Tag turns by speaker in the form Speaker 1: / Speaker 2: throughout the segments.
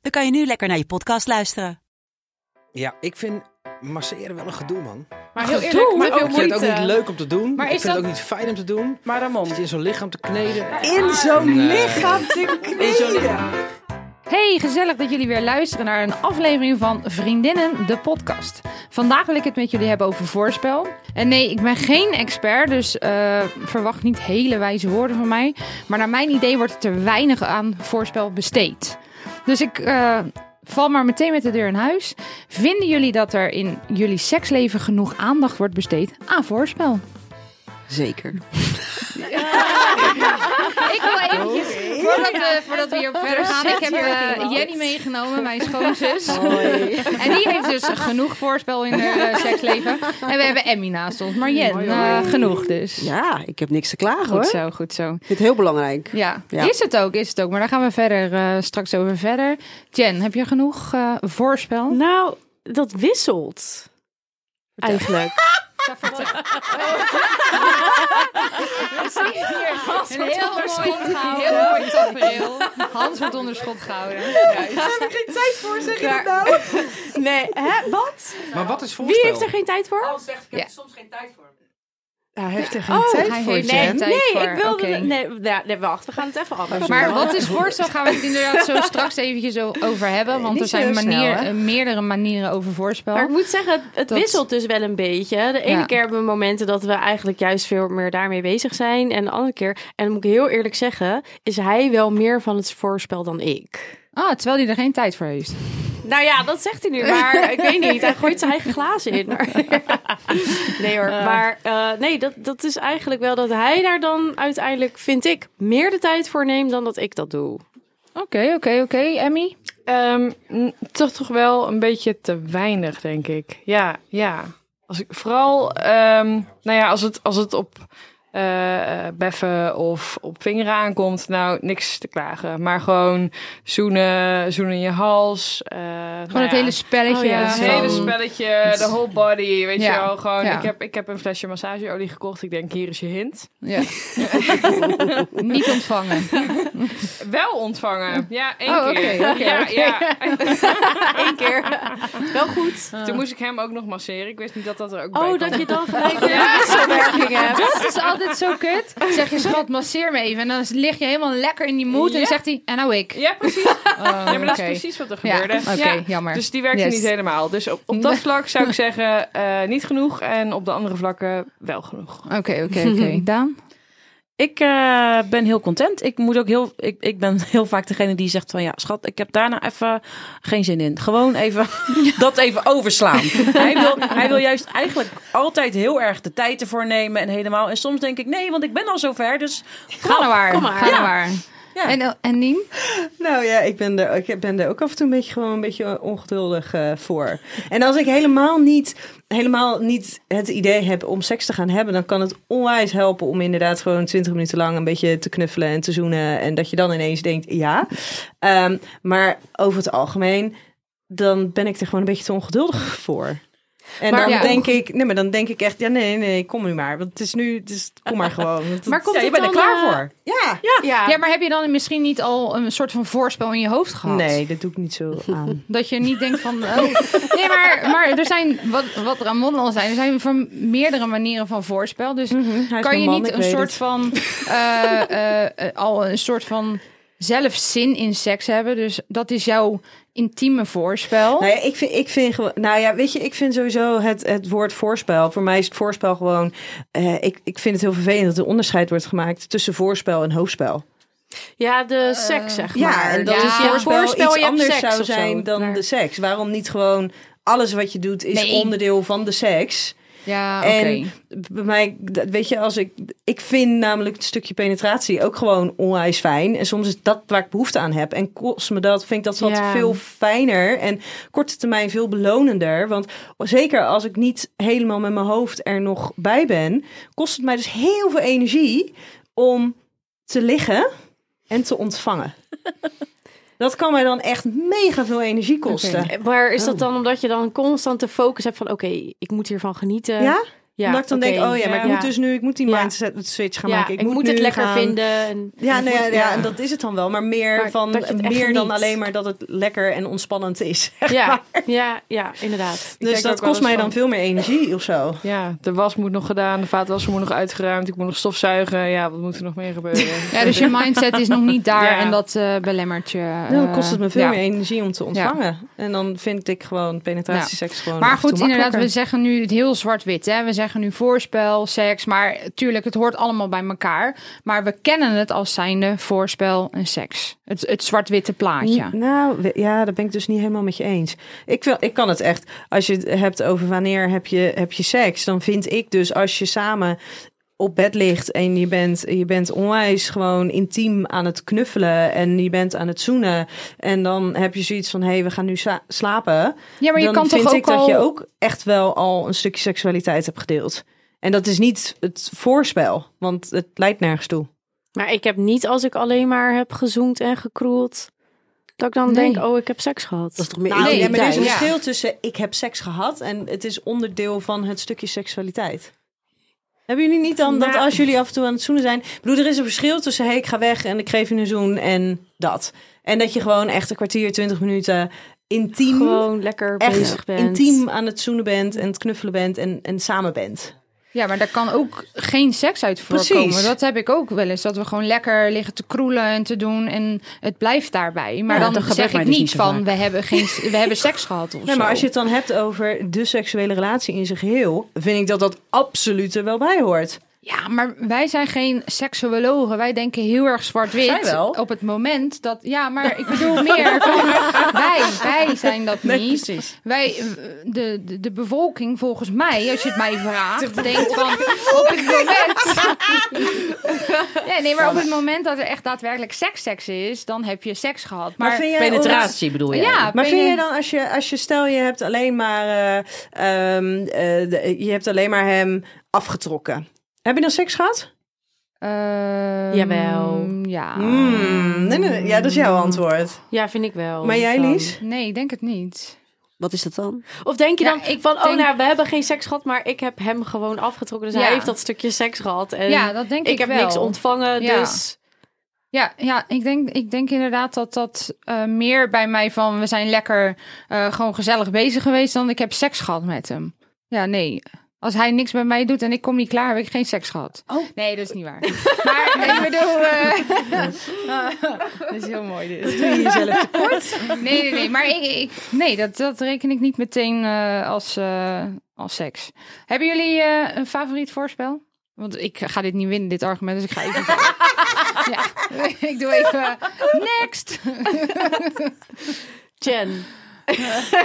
Speaker 1: dan kan je nu lekker naar je podcast luisteren.
Speaker 2: Ja, ik vind masseren wel een gedoe, man.
Speaker 3: Maar heel
Speaker 4: Gedoe,
Speaker 3: eerlijk,
Speaker 4: maar
Speaker 3: met veel
Speaker 4: ook-
Speaker 2: Ik vind
Speaker 3: moeite.
Speaker 2: het ook niet leuk om te doen.
Speaker 3: Maar
Speaker 2: ik
Speaker 3: is
Speaker 2: vind het
Speaker 3: dat-
Speaker 2: ook niet fijn om te doen.
Speaker 3: Maar Ramon.
Speaker 2: Zit je in zo'n lichaam te kneden?
Speaker 5: Ah,
Speaker 4: In zo'n
Speaker 2: Nee.
Speaker 4: lichaam te kneden.
Speaker 3: Hey, gezellig dat jullie weer luisteren naar een aflevering van Vriendinnen, de podcast. Vandaag wil ik het met jullie hebben over voorspel. En nee, ik ben geen expert, dus eh, verwacht niet hele wijze woorden van mij. Maar naar mijn idee wordt het er weinig aan voorspel besteed. Dus ik eh, val maar meteen met de deur in huis. Vinden jullie dat er in jullie seksleven genoeg aandacht wordt besteed aan voorspel?
Speaker 4: Zeker.
Speaker 3: Ik wil eventjes,
Speaker 4: Oh.
Speaker 3: voordat, we, voordat we hier verder gaan, ik heb eh, Jenny meegenomen, mijn schoonzus. En die heeft dus genoeg voorspel in haar eh, seksleven. En we hebben Emmy naast ons. Maar Jen, eh, genoeg dus.
Speaker 4: Ja, ik heb niks te klagen hoor.
Speaker 3: Goed
Speaker 4: Ik
Speaker 3: zo, goed zo.
Speaker 4: vind het heel belangrijk.
Speaker 3: Ja.
Speaker 4: Ja.
Speaker 3: is het ook, is het ook. Maar daar gaan we verder, eh, straks over verder. Jen, heb je genoeg eh, voorspel?
Speaker 6: Nou, dat wisselt. Eigenlijk.
Speaker 3: Een heel mooi, heel mooi tafereel. Hans wordt onder schot gehouden.
Speaker 6: Nee, hè? Wat?
Speaker 2: Maar wat is
Speaker 6: Wie
Speaker 2: voorspel?
Speaker 6: heeft er geen tijd voor?
Speaker 4: Hij heeft er geen
Speaker 6: Oh,
Speaker 4: tijd
Speaker 3: Hij
Speaker 4: voor,
Speaker 3: heeft
Speaker 4: Jen.
Speaker 3: geen tijd
Speaker 6: Nee,
Speaker 3: voor.
Speaker 6: ik wilde...
Speaker 3: Oké.
Speaker 6: Nee, nee, nee, wacht. We gaan het even anders
Speaker 3: Maar
Speaker 6: doen.
Speaker 3: wat is voorstel? Gaan we het inderdaad zo straks eventjes o- over hebben. Want
Speaker 4: niet
Speaker 3: er zijn
Speaker 4: zo snel,
Speaker 3: manier,
Speaker 4: hè?
Speaker 3: eh, meerdere manieren over voorspel.
Speaker 6: Maar ik moet zeggen, het- het
Speaker 3: Dat-
Speaker 6: wisselt dus wel een beetje. De ene
Speaker 3: Ja.
Speaker 6: keer hebben we momenten dat we eigenlijk juist veel meer daarmee bezig zijn. En de andere keer, en dan moet ik heel eerlijk zeggen, is hij wel meer van het voorspel dan ik.
Speaker 3: Ah, terwijl hij er geen tijd voor heeft.
Speaker 6: Nou ja, dat zegt hij nu, maar ik weet niet. Hij gooit zijn eigen glazen in. Maar... Nee hoor, maar eh, nee, dat, dat is eigenlijk wel dat hij daar dan uiteindelijk, vind ik, meer de tijd voor neemt dan dat ik dat doe.
Speaker 3: Oké, oké, oké, Emmy.
Speaker 4: Ehm, n- toch toch wel een beetje te weinig, denk ik. Ja, ja. Als ik, vooral, ehm, nou ja, als het, als het op eh, eh, beffen of op vingeren aankomt, nou, niks te klagen. Maar gewoon zoenen, zoenen in je hals. eh,
Speaker 3: Gewoon
Speaker 4: nou
Speaker 3: het
Speaker 4: ja.
Speaker 3: hele spelletje.
Speaker 6: Oh ja,
Speaker 4: Het
Speaker 6: van-
Speaker 4: hele spelletje, de whole body, weet
Speaker 3: Ja,
Speaker 4: je wel. Gewoon,
Speaker 3: ja.
Speaker 4: ik, heb, ik heb een flesje massageolie gekocht. Ik denk, hier is je hint.
Speaker 3: Ja. Niet ontvangen.
Speaker 4: Wel ontvangen. Ja, één
Speaker 3: Oh,
Speaker 4: keer.
Speaker 3: oké, oké,
Speaker 4: ja,
Speaker 3: oké.
Speaker 4: ja.
Speaker 6: Eén keer. Wel goed.
Speaker 4: Toen moest ik hem ook nog masseren. Ik wist niet dat dat er ook bij
Speaker 6: Oh,
Speaker 4: kwam.
Speaker 6: dat je dan gelijk weer een wisselwerking hebt.
Speaker 3: Dat is altijd zo kut. Ik Zeg je schat, masseer me even. En dan lig je helemaal lekker in die mood. En dan
Speaker 4: Ja.
Speaker 3: zegt hij, en nou ik.
Speaker 4: Ja, precies. ja, maar dat is
Speaker 3: oké.
Speaker 4: precies wat er
Speaker 3: Ja,
Speaker 4: gebeurde.
Speaker 3: oké, jammer.
Speaker 4: Dus die werkte
Speaker 3: Yes.
Speaker 4: niet helemaal. Dus op, op dat vlak zou ik zeggen, eh, niet genoeg. En op de andere vlakken wel genoeg.
Speaker 3: Oké, oké, oké. Daan?
Speaker 7: Ik eh, ben heel content. Ik moet ook heel. Ik, ik ben heel vaak degene die zegt van ja, schat, ik heb daarna even geen zin in. Gewoon even dat even overslaan. hij, wil, hij wil juist eigenlijk altijd heel erg de tijd ervoor nemen en helemaal. En soms denk ik nee, want ik ben al zover. Dus
Speaker 3: Ga nou naar waar.
Speaker 6: kom maar.
Speaker 3: Ga naar
Speaker 7: Ja.
Speaker 3: waar.
Speaker 7: Ja.
Speaker 3: En, eh, en Nien?
Speaker 8: Nou ja, ik ben er, ik ben er ook af en toe een beetje, gewoon een beetje ongeduldig eh, voor. En als ik helemaal niet, helemaal niet het idee heb om seks te gaan hebben, dan kan het onwijs helpen om inderdaad gewoon 20 minuten lang een beetje te knuffelen en te zoenen. En dat je dan ineens denkt, ja. Ehm, maar over het algemeen, dan ben ik er gewoon een beetje te ongeduldig voor. En
Speaker 3: Maar
Speaker 8: dan
Speaker 3: ja.
Speaker 8: denk ik, nee, maar dan denk ik echt, ja, nee, nee, kom nu maar. Want het is nu, het is, kom maar gewoon. Want het-
Speaker 6: Maar komt
Speaker 8: ja, je
Speaker 6: het
Speaker 8: bent er
Speaker 6: dan,
Speaker 8: klaar
Speaker 6: eh,
Speaker 8: voor. Ja.
Speaker 6: Ja.
Speaker 3: Ja, maar heb je dan misschien niet al een soort van voorspel in je hoofd gehad?
Speaker 8: Nee, dat doe ik niet zo aan.
Speaker 3: Dat je niet denkt van. oh. Nee, maar, maar er zijn, wat, wat Ramon al zei, er zijn van meerdere manieren van voorspel. Dus
Speaker 8: Hij is
Speaker 3: kan
Speaker 8: mijn
Speaker 3: je
Speaker 8: man,
Speaker 3: niet
Speaker 8: ik
Speaker 3: een
Speaker 8: weet
Speaker 3: soort
Speaker 8: het.
Speaker 3: van. eh, eh, eh, al een soort van zelf zin in seks hebben. Dus dat is jouw intieme voorspel.
Speaker 8: Nou ja, ik vind, ik vind gewoon, nou ja, weet je, ik vind sowieso het, het woord voorspel. Voor mij is het voorspel gewoon. eh, ik, ik vind het heel vervelend dat er onderscheid wordt gemaakt tussen voorspel en hoofdspel.
Speaker 6: Ja, de seks,
Speaker 8: Eh.
Speaker 6: zeg maar.
Speaker 8: en dat
Speaker 3: ja.
Speaker 8: het voorspel,
Speaker 6: Voorspel, je
Speaker 8: iets
Speaker 6: hebt
Speaker 8: anders
Speaker 6: seks
Speaker 8: zou
Speaker 6: of zo.
Speaker 8: zijn dan
Speaker 6: Maar-
Speaker 8: de seks. Waarom niet gewoon alles wat je doet is
Speaker 3: Nee.
Speaker 8: onderdeel van de seks?
Speaker 3: Ja, oké.
Speaker 8: En bij mij, dat- weet je, als ik, ik vind namelijk het stukje penetratie ook gewoon onwijs fijn. En soms is dat waar ik behoefte aan heb. En kost me dat, vind ik dat wat
Speaker 4: Ja.
Speaker 8: veel fijner en korte termijn veel belonender. Want zeker als ik niet helemaal met mijn hoofd er nog bij ben, kost het mij dus heel veel energie om te liggen en te ontvangen. dat kan mij dan echt mega veel energie kosten.
Speaker 6: Eh, Maar is dat
Speaker 8: Oh.
Speaker 6: dan omdat je dan constant de focus hebt van... oké, ik moet hiervan genieten?
Speaker 8: Ja? Omdat ik dan
Speaker 6: oké.
Speaker 8: denk, oh ja, maar ik
Speaker 6: Ja.
Speaker 8: moet dus nu, ik moet die
Speaker 6: Ja.
Speaker 8: mindset switch gaan
Speaker 6: Ja,
Speaker 8: maken.
Speaker 6: ik, moet, het
Speaker 8: nu
Speaker 6: lekker
Speaker 8: gaan-
Speaker 6: vinden. En,
Speaker 8: Ja,
Speaker 6: ik
Speaker 8: nou ja,
Speaker 6: moet-
Speaker 8: ja, en dat is het dan wel. Maar meer,
Speaker 6: Maar
Speaker 8: van,
Speaker 6: dat je het echt
Speaker 8: meer dan
Speaker 6: geniet.
Speaker 8: alleen maar dat het lekker en ontspannend is.
Speaker 6: Ja, ja, ja, inderdaad.
Speaker 4: denk
Speaker 8: Dus
Speaker 4: ook
Speaker 8: dat
Speaker 4: wel
Speaker 8: kost
Speaker 4: eens
Speaker 8: mij
Speaker 4: van-
Speaker 8: dan veel meer energie of zo.
Speaker 4: Ja, de was moet nog gedaan, de vaatwasser moet nog uitgeruimd, ik moet nog stofzuigen. Ja, wat moet er nog meer gebeuren?
Speaker 3: Ja, dus je mindset is nog niet daar
Speaker 4: Ja.
Speaker 3: en dat eh belemmert je.
Speaker 8: Nou, Dan
Speaker 3: eh,
Speaker 8: kost het me veel
Speaker 3: ja.
Speaker 8: meer energie om te ontvangen. En dan vind ik gewoon penetratieseks gewoon
Speaker 3: Maar
Speaker 8: af en
Speaker 3: goed,
Speaker 8: toe
Speaker 3: inderdaad, we
Speaker 8: makkelijker.
Speaker 3: zeggen nu het heel zwart-wit. hè. We zeggen nu voorspel, seks, maar tuurlijk, het hoort allemaal bij elkaar. Maar we kennen het als zijnde voorspel en seks. Het, het zwart-witte plaatje.
Speaker 8: N- Nou, we- ja, daar ben ik dus niet helemaal met je eens. Ik, wil, ik kan het echt. Als je het hebt over wanneer heb je, heb je seks, dan vind ik dus als je samen op bed ligt en je bent, je bent onwijs gewoon intiem aan het knuffelen en je bent aan het zoenen en dan heb je zoiets van hé, hey, we gaan nu sa- slapen.
Speaker 3: Ja, maar je
Speaker 8: dan
Speaker 3: kan
Speaker 8: vind
Speaker 3: toch
Speaker 8: ik
Speaker 3: ook
Speaker 8: dat je
Speaker 3: al...
Speaker 8: ook echt wel al een stukje seksualiteit hebt gedeeld. En dat is niet het voorspel, want het leidt nergens toe.
Speaker 6: Maar ik heb niet als ik alleen maar heb gezoend en gekroeld... dat ik dan
Speaker 3: Nee.
Speaker 6: denk, oh, ik heb seks gehad.
Speaker 2: Dat is toch meer
Speaker 8: Nou,
Speaker 3: Nee,
Speaker 8: ja, maar er is een
Speaker 3: thuis.
Speaker 8: verschil tussen ik heb seks gehad en het is onderdeel van het stukje seksualiteit. Hebben jullie niet dan dat
Speaker 4: Nou.
Speaker 8: als jullie af en toe aan het zoenen zijn... Ik bedoel, er is een verschil tussen hey, ik ga weg en ik geef je een zoen en dat. En dat je gewoon echt een kwartier, twintig minuten intiem,
Speaker 6: Gewoon lekker bezig
Speaker 8: echt
Speaker 6: bent.
Speaker 8: intiem aan het zoenen bent en het knuffelen bent en, en samen bent.
Speaker 3: Ja, maar daar kan ook geen seks uit voorkomen.
Speaker 8: Precies.
Speaker 3: Dat heb ik ook wel eens. Dat we gewoon lekker liggen te kroelen en te doen en het blijft daarbij. Maar
Speaker 7: Ja,
Speaker 3: dan
Speaker 7: dat gebeurt
Speaker 3: zeg
Speaker 7: mij
Speaker 3: ik
Speaker 7: dus
Speaker 3: niet
Speaker 7: niet zo
Speaker 3: van
Speaker 7: vaak.
Speaker 3: we hebben, geen, we hebben seks gehad of
Speaker 8: Nee, maar
Speaker 3: zo.
Speaker 8: als je het dan hebt over de seksuele relatie in zijn geheel... vind ik dat dat absoluut er wel bij hoort.
Speaker 3: Ja, maar wij zijn geen seksuologen. Wij denken heel erg
Speaker 7: Zij
Speaker 3: zwart-wit
Speaker 7: wel.
Speaker 3: op het moment dat... Ja, maar ik bedoel meer van wij, wij zijn dat niet.
Speaker 7: precies.
Speaker 3: Wij, eh, de, de, de bevolking volgens mij, als je het mij vraagt, denkt van op het moment... ja, nee, maar op het moment dat er echt daadwerkelijk seks-seks is, dan heb je seks gehad. Maar,
Speaker 8: vind
Speaker 7: Eh,
Speaker 8: jij ook-
Speaker 7: Penetratie bedoel je?
Speaker 3: ja,
Speaker 8: Maar
Speaker 3: ben
Speaker 8: vind je dan als je, als je stel je hebt alleen maar eh, ehm, eh, de- je hebt alleen maar hem afgetrokken. Heb je dan seks gehad?
Speaker 3: Ehm,
Speaker 6: Jawel.
Speaker 3: Ja.
Speaker 8: Hmm, nee, nee, nee. Ja, dat is jouw antwoord.
Speaker 6: Ja, vind ik wel.
Speaker 8: Maar jij,
Speaker 6: Dan-
Speaker 8: Lies?
Speaker 3: Nee, ik denk het niet.
Speaker 2: Wat is dat dan?
Speaker 6: Of denk je
Speaker 3: Ja,
Speaker 6: dan
Speaker 3: ik
Speaker 6: van, oh
Speaker 3: denk-
Speaker 6: nou, we hebben geen seks gehad, maar ik heb hem gewoon afgetrokken. Dus
Speaker 3: Ja.
Speaker 6: hij heeft dat stukje seks gehad.
Speaker 8: Eh,
Speaker 6: En
Speaker 3: Ja, dat denk
Speaker 6: ik,
Speaker 3: ik,
Speaker 6: heb
Speaker 3: wel.
Speaker 6: niks ontvangen,
Speaker 3: Ja.
Speaker 6: dus...
Speaker 3: Ja, ja ik, denk, ik denk inderdaad dat dat eh, meer bij mij van we zijn lekker eh, gewoon gezellig bezig geweest dan ik heb seks gehad met hem. Ja, nee. Als hij niks bij mij doet en ik kom niet klaar, heb ik geen seks gehad.
Speaker 7: Oh.
Speaker 3: Nee, dat is niet waar. maar ik bedoel... eh, dat is heel mooi dit. Dat doe je jezelf tekort. Nee, nee, nee. Maar ik, ik, nee, dat, dat reken ik niet meteen eh, als, eh, als seks. Hebben jullie eh, een favoriet voorspel? Want ik ga dit niet winnen, dit argument. Dus ik ga even... ja, ik doe even... eh, Next!
Speaker 6: Jen.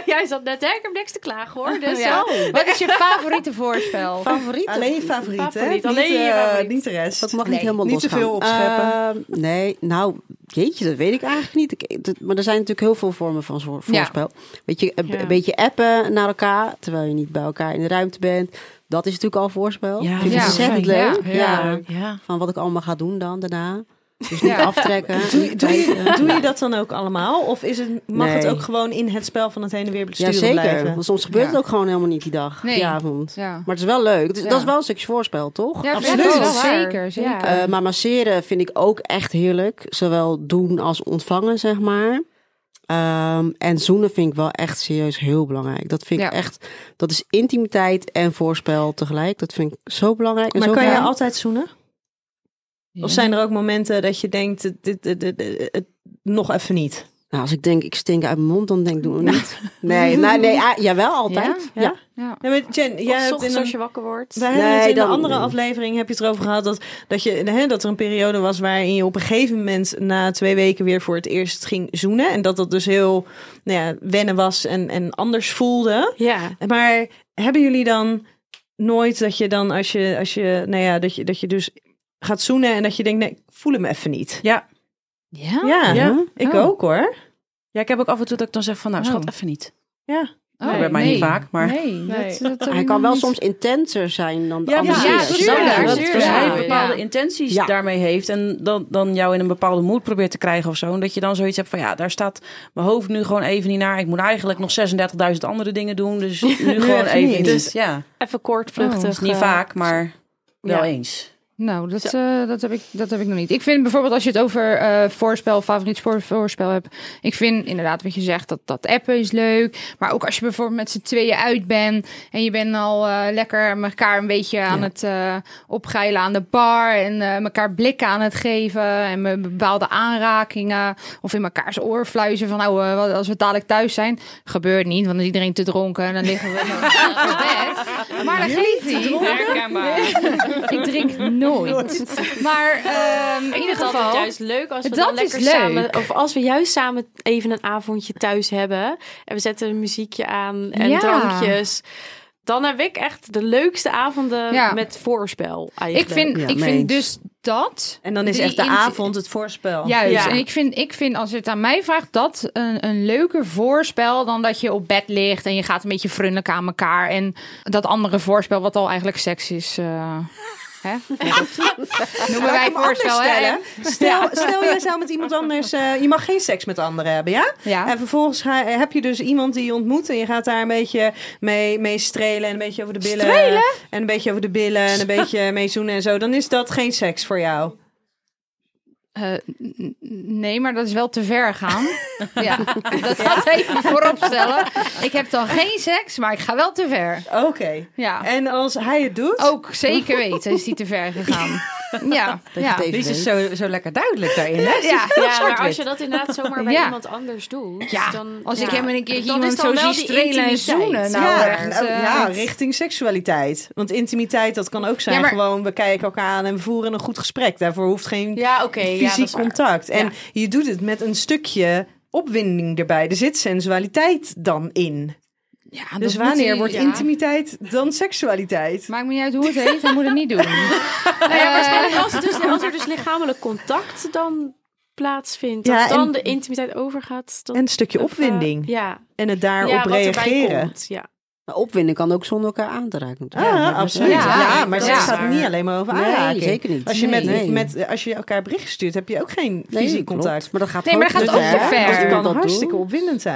Speaker 6: Jij zat net, hè? Ik heb niks te klagen hoor. Dus
Speaker 3: Ja.
Speaker 6: zo.
Speaker 3: Wat is je favoriete voorspel?
Speaker 2: Favoriet?
Speaker 8: Alleen je favoriet, hè?
Speaker 6: Favoriet,
Speaker 8: Niet,
Speaker 6: alleen je
Speaker 8: eh,
Speaker 6: favoriet.
Speaker 8: niet de rest.
Speaker 2: Dat mag
Speaker 3: Nee,
Speaker 2: niet helemaal
Speaker 8: niet te
Speaker 2: losgaan.
Speaker 8: veel opscheppen.
Speaker 2: Eh, nee, nou, jeetje, dat weet ik eigenlijk niet. Ik, dat- maar er zijn natuurlijk heel veel vormen van voor-
Speaker 3: Ja.
Speaker 2: voorspel. Weet je, een,
Speaker 6: Ja.
Speaker 2: een beetje appen naar elkaar, terwijl je niet bij elkaar in de ruimte bent. Dat is natuurlijk al voorspel.
Speaker 7: Ja,
Speaker 2: Ja, Vind ik
Speaker 3: ja.
Speaker 2: ontzettend
Speaker 3: Ja.
Speaker 4: Ja.
Speaker 2: leuk. Ja.
Speaker 7: Ja.
Speaker 2: Van wat ik allemaal ga doen dan daarna. Dus niet
Speaker 3: Ja.
Speaker 2: aftrekken.
Speaker 8: Doe, doe, je, Eh, doe je dat dan ook allemaal? Of is het, mag het
Speaker 2: Nee.
Speaker 8: ook gewoon in het spel van het heen en weer besturen
Speaker 2: Jazeker,
Speaker 8: blijven?
Speaker 2: want soms gebeurt
Speaker 3: Ja.
Speaker 2: het ook gewoon helemaal niet die dag,
Speaker 3: Nee.
Speaker 2: die avond.
Speaker 3: Ja.
Speaker 2: Maar het is wel leuk. Het is-
Speaker 3: Ja.
Speaker 2: Dat is wel een stukje voorspel, toch?
Speaker 3: Ja,
Speaker 8: Absoluut.
Speaker 3: dat is
Speaker 8: Wel
Speaker 3: wel
Speaker 6: waar.
Speaker 3: Zeker, zeker.
Speaker 6: Ja.
Speaker 7: Nou,
Speaker 2: Eh, maar masseren vind ik ook echt heerlijk. Zowel doen als ontvangen, zeg maar. Ehm, en zoenen vind ik wel echt serieus heel belangrijk. Dat vind ik
Speaker 3: Ja.
Speaker 2: echt, dat is intimiteit en voorspel tegelijk. Dat vind ik zo belangrijk. En
Speaker 8: Maar
Speaker 2: zo
Speaker 8: kan je
Speaker 2: fijn.
Speaker 8: altijd zoenen? Of zijn er ook momenten dat je denkt, dit, dit, dit, dit- dit- het nog even niet?
Speaker 2: Nou, als ik denk, ik stink uit mijn mond, dan denk ik, doe het niet. Nee, nou, nee, ah, jawel, altijd.
Speaker 8: Ja?
Speaker 2: Ja?
Speaker 3: Ja.
Speaker 8: Ja, maar Jen, jij
Speaker 6: of
Speaker 8: hebt in
Speaker 6: ochtends
Speaker 8: een
Speaker 6: als je wakker wordt.
Speaker 8: Wij hebben het
Speaker 2: Nee,
Speaker 8: in
Speaker 2: dan-
Speaker 8: de andere aflevering heb je het erover gehad dat, dat, je, hè, dat er een periode was waarin je op een gegeven moment na twee weken weer voor het eerst ging zoenen. En dat dat dus heel nou ja, wennen was en, en anders voelde.
Speaker 6: Ja.
Speaker 8: Maar hebben jullie dan nooit dat je dan als je, als je nou ja, dat je, dat je dus gaat zoenen en dat je denkt, nee, ik voel hem even niet.
Speaker 7: Ja.
Speaker 3: Ja?
Speaker 8: Ja,
Speaker 7: Ja.
Speaker 8: ik
Speaker 3: Oh.
Speaker 8: ook hoor.
Speaker 7: ja, ik heb ook af en toe dat ik dan zeg van, nou
Speaker 3: Oh.
Speaker 7: schat, even niet.
Speaker 8: Ja.
Speaker 3: Oh,
Speaker 7: bij mij niet vaak, maar-
Speaker 3: Nee,
Speaker 4: Nee.
Speaker 3: dat- dat heb
Speaker 2: Hij
Speaker 3: ik
Speaker 2: kan
Speaker 3: nog
Speaker 2: wel
Speaker 3: niet.
Speaker 2: soms intenser zijn dan de
Speaker 7: Ja,
Speaker 2: andere.
Speaker 3: precies.
Speaker 2: Dat-
Speaker 3: tuurlijk,
Speaker 7: Ja,
Speaker 3: Ja,
Speaker 7: dat,
Speaker 3: tuurlijk.
Speaker 7: dat hij
Speaker 3: Ja.
Speaker 7: bepaalde
Speaker 3: Ja.
Speaker 7: intenties
Speaker 2: Ja.
Speaker 7: daarmee heeft en dan, dan jou in een bepaalde moed probeert te krijgen of zo. En dat je dan zoiets hebt van, ja, daar staat mijn hoofd nu gewoon even niet naar. Ik moet eigenlijk nog 36.000 andere dingen doen, dus nu gewoon
Speaker 8: even
Speaker 7: even
Speaker 8: niet.
Speaker 7: niet.
Speaker 6: Dus-
Speaker 7: ja,
Speaker 6: Even kort, vluchtig.
Speaker 7: is niet
Speaker 6: eh,
Speaker 7: vaak, maar wel
Speaker 6: ja.
Speaker 7: eens.
Speaker 3: Nou, dat, eh, dat, heb ik, dat heb ik nog niet. Ik vind bijvoorbeeld als je het over eh, voorspel, favoriet spoor- voorspel hebt. Ik vind inderdaad wat je zegt, dat, dat appen is leuk. Maar ook als je bijvoorbeeld met z'n tweeën uit bent. En je bent al eh, lekker elkaar een beetje aan het eh opgeilen aan de bar. En eh, elkaar blikken aan het geven. En be- bepaalde aanrakingen. Of in mekaars oor fluizen van nou, eh, wat- als we dadelijk thuis zijn. Gebeurt niet, want dan is iedereen te dronken. En dan liggen we op bed. Maar dat geeft niet.
Speaker 4: Herkenbaar.
Speaker 3: Ik drink nooit. Maar ehm, in
Speaker 6: Ik
Speaker 3: ieder
Speaker 6: vind het altijd
Speaker 3: geval.
Speaker 6: juist leuk als we
Speaker 3: Dat
Speaker 6: dan
Speaker 3: is
Speaker 6: lekker
Speaker 3: leuk.
Speaker 6: samen... Of als we juist samen even een avondje thuis hebben. En we zetten een muziekje aan en
Speaker 3: Ja.
Speaker 6: drankjes. Dan heb ik echt de leukste avonden
Speaker 3: Ja.
Speaker 6: met voorspel eigenlijk.
Speaker 3: Ik vind,
Speaker 8: Ja,
Speaker 3: ik
Speaker 8: mee
Speaker 3: vind dus
Speaker 8: eens.
Speaker 3: dat.
Speaker 8: En dan is
Speaker 3: Die
Speaker 8: echt de
Speaker 3: int-
Speaker 8: avond het voorspel.
Speaker 3: Juist.
Speaker 6: Ja.
Speaker 3: En ik vind, ik vind, als je het aan mij vraagt, dat een, een leuker voorspel dan dat je op bed ligt en je gaat een beetje vriendelijk aan elkaar. En dat andere voorspel, wat al eigenlijk seks is. eh, hè? Noemen wij voorspel, hè?
Speaker 8: stellen. Stel, stel jij zou met iemand anders, eh, je mag geen seks met anderen hebben, ja?
Speaker 3: Ja.
Speaker 8: En vervolgens ga, heb je dus iemand die je ontmoet en je gaat daar een beetje mee, mee strelen en een beetje over de billen. En een beetje over de billen en een beetje mee zoenen en zo. Dan is dat geen seks voor jou.
Speaker 3: Eh, n- n- nee, maar dat is wel te ver gaan. ja. Dat gaat even vooropstellen. Ik heb dan geen seks, maar ik ga wel te ver.
Speaker 8: Oké.
Speaker 3: Ja.
Speaker 8: En als hij het doet,
Speaker 3: Ook zeker weten is die te ver gegaan. Ja, ja.
Speaker 2: het even
Speaker 7: Lies is
Speaker 2: weet.
Speaker 7: zo, zo lekker duidelijk daarin, hè?
Speaker 3: ja.
Speaker 6: Ja, maar als je dat inderdaad zomaar bij
Speaker 3: Ja.
Speaker 6: iemand anders doet,
Speaker 3: Ja,
Speaker 6: dan...
Speaker 3: als ik
Speaker 6: ja.
Speaker 3: hem een keertje
Speaker 6: Dan is
Speaker 3: iemand
Speaker 6: dan
Speaker 3: zo
Speaker 6: wel
Speaker 3: zie
Speaker 6: die
Speaker 3: strelen en
Speaker 6: intimiteit.
Speaker 3: zoenen. Nou,
Speaker 8: ja,
Speaker 3: echt,
Speaker 8: nou,
Speaker 3: eh,
Speaker 8: ja, richting seksualiteit. Want intimiteit, dat kan ook zijn
Speaker 3: Ja, maar-
Speaker 8: gewoon, we kijken elkaar aan en we voeren een goed gesprek. Daarvoor hoeft geen
Speaker 6: Ja, oké. ja, dat
Speaker 8: fysiek
Speaker 6: is waar.
Speaker 8: contact. En
Speaker 6: Ja.
Speaker 8: je doet het met een stukje opwinding erbij. Er zit sensualiteit dan in.
Speaker 3: ja, dat
Speaker 8: Dus
Speaker 3: moet
Speaker 8: wanneer
Speaker 3: hij-
Speaker 8: wordt
Speaker 3: ja.
Speaker 8: intimiteit dan seksualiteit?
Speaker 3: Maakt me niet uit hoe het heet, hij moet het niet doen.
Speaker 6: Nou ja, waarschijnlijk als, het dus, als er dus lichamelijk contact dan plaatsvindt, dat
Speaker 8: Ja, en-
Speaker 6: dan de intimiteit overgaat. Dat,
Speaker 8: En een stukje
Speaker 6: of, eh,
Speaker 8: opwinding.
Speaker 6: ja,
Speaker 8: En het
Speaker 6: ja,
Speaker 8: daarop
Speaker 6: wat erbij
Speaker 8: reageren.
Speaker 6: komt, ja.
Speaker 2: Maar opwinden kan ook zonder elkaar aan te raken.
Speaker 8: Ah, absoluut. Ja,
Speaker 3: Ja,
Speaker 8: maar
Speaker 3: dat
Speaker 8: het
Speaker 3: is
Speaker 8: gaat
Speaker 6: waar.
Speaker 8: niet alleen maar over aanraking.
Speaker 2: Nee, zeker niet.
Speaker 8: Als je, met,
Speaker 2: Nee.
Speaker 8: met, als je elkaar bericht stuurt, heb je ook geen
Speaker 2: Nee,
Speaker 8: fysiek
Speaker 2: klopt.
Speaker 8: contact. Dus
Speaker 2: Maar dat gaat
Speaker 3: Nee, maar dat gaat ook te ver.
Speaker 2: Als
Speaker 8: Dat
Speaker 2: iemand
Speaker 8: kan
Speaker 2: dat doet.
Speaker 8: hartstikke opwindend zijn.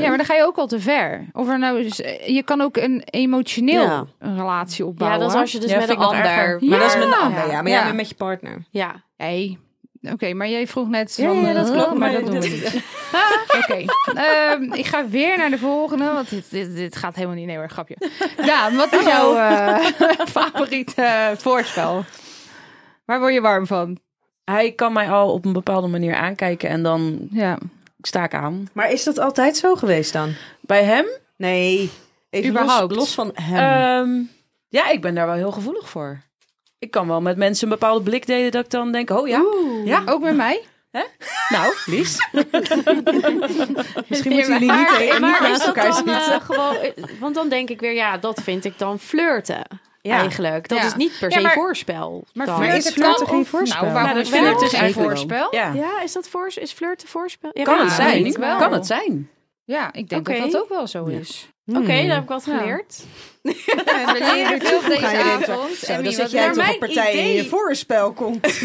Speaker 3: Ja, maar dan ga je ook al te ver. Of er nou is, eh, je kan ook een emotioneel
Speaker 2: Ja.
Speaker 3: een relatie
Speaker 6: ja,
Speaker 3: opbouwen.
Speaker 6: dat is als je dus
Speaker 7: Ja,
Speaker 6: met een
Speaker 7: vind ik nog
Speaker 6: ander...
Speaker 7: erger. Hm?
Speaker 8: Maar dat is met een
Speaker 3: Ja.
Speaker 8: ander, ja. Maar jij
Speaker 3: Ja.
Speaker 8: bent met je partner.
Speaker 6: Ja,
Speaker 3: Hey. Oké, maar jij vroeg net.
Speaker 8: Ja,
Speaker 3: van,
Speaker 8: ja, dat
Speaker 3: eh,
Speaker 8: klopt,
Speaker 3: Maar
Speaker 8: maar
Speaker 3: dat doen we
Speaker 8: dit-
Speaker 3: niet. Oké. Ehm, ik ga weer naar de volgende. Want dit, dit, dit gaat helemaal niet. Nee hoor, grapje. Daan, wat is jouw eh favoriete eh, voorspel? Waar word je warm van?
Speaker 7: Hij kan mij al op een bepaalde manier aankijken en dan
Speaker 3: Ja.
Speaker 7: sta ik aan.
Speaker 8: Maar is dat altijd zo geweest dan?
Speaker 7: Bij hem
Speaker 8: Nee. Even
Speaker 3: Überhaupt.
Speaker 8: Los, los van hem.
Speaker 7: Ehm, ja, ik ben daar wel heel gevoelig voor. Ik kan wel met mensen een bepaalde blik delen dat ik dan denk, oh ja, ja,
Speaker 3: Ook met mij?
Speaker 7: nou, Lies.
Speaker 8: Misschien moeten jullie niet, eh,
Speaker 6: maar,
Speaker 8: niet
Speaker 6: maar is
Speaker 8: naast
Speaker 6: dat
Speaker 8: elkaar
Speaker 6: dan
Speaker 8: zitten.
Speaker 6: eh, gewoon... eh, Want dan denk ik weer, ja, dat vind ik dan flirten. Eigenlijk. Dat
Speaker 3: Ja.
Speaker 6: is niet per
Speaker 3: Ja,
Speaker 6: se
Speaker 3: maar-
Speaker 6: voorspel.
Speaker 3: Maar
Speaker 6: dan.
Speaker 3: flirten
Speaker 8: is flirten
Speaker 3: kan
Speaker 8: geen
Speaker 3: of-
Speaker 8: voorspel?
Speaker 3: Nou, waarom
Speaker 6: Nou,
Speaker 3: is
Speaker 6: dat wel.
Speaker 3: flirten geen
Speaker 2: Zeker wel.
Speaker 3: voorspel?
Speaker 7: Ja.
Speaker 6: Ja, is dat voor, is flirten voorspel? Ja,
Speaker 7: Kan het
Speaker 6: ja,
Speaker 7: zijn?
Speaker 6: vind ik wel.
Speaker 7: Kan het zijn?
Speaker 3: Ja, ik denk
Speaker 6: Oké.
Speaker 3: dat dat ook wel zo is.
Speaker 6: Oké, daar heb ik wat
Speaker 3: Ja.
Speaker 6: geleerd.
Speaker 3: We leren veel deze
Speaker 8: Ga je denken,
Speaker 3: avond.
Speaker 8: Zo,
Speaker 3: Emmy,
Speaker 8: dan
Speaker 3: wat
Speaker 8: zit jij
Speaker 3: naar
Speaker 8: toch
Speaker 3: mijn
Speaker 8: een partij in
Speaker 3: idee.
Speaker 8: je voorspel komt.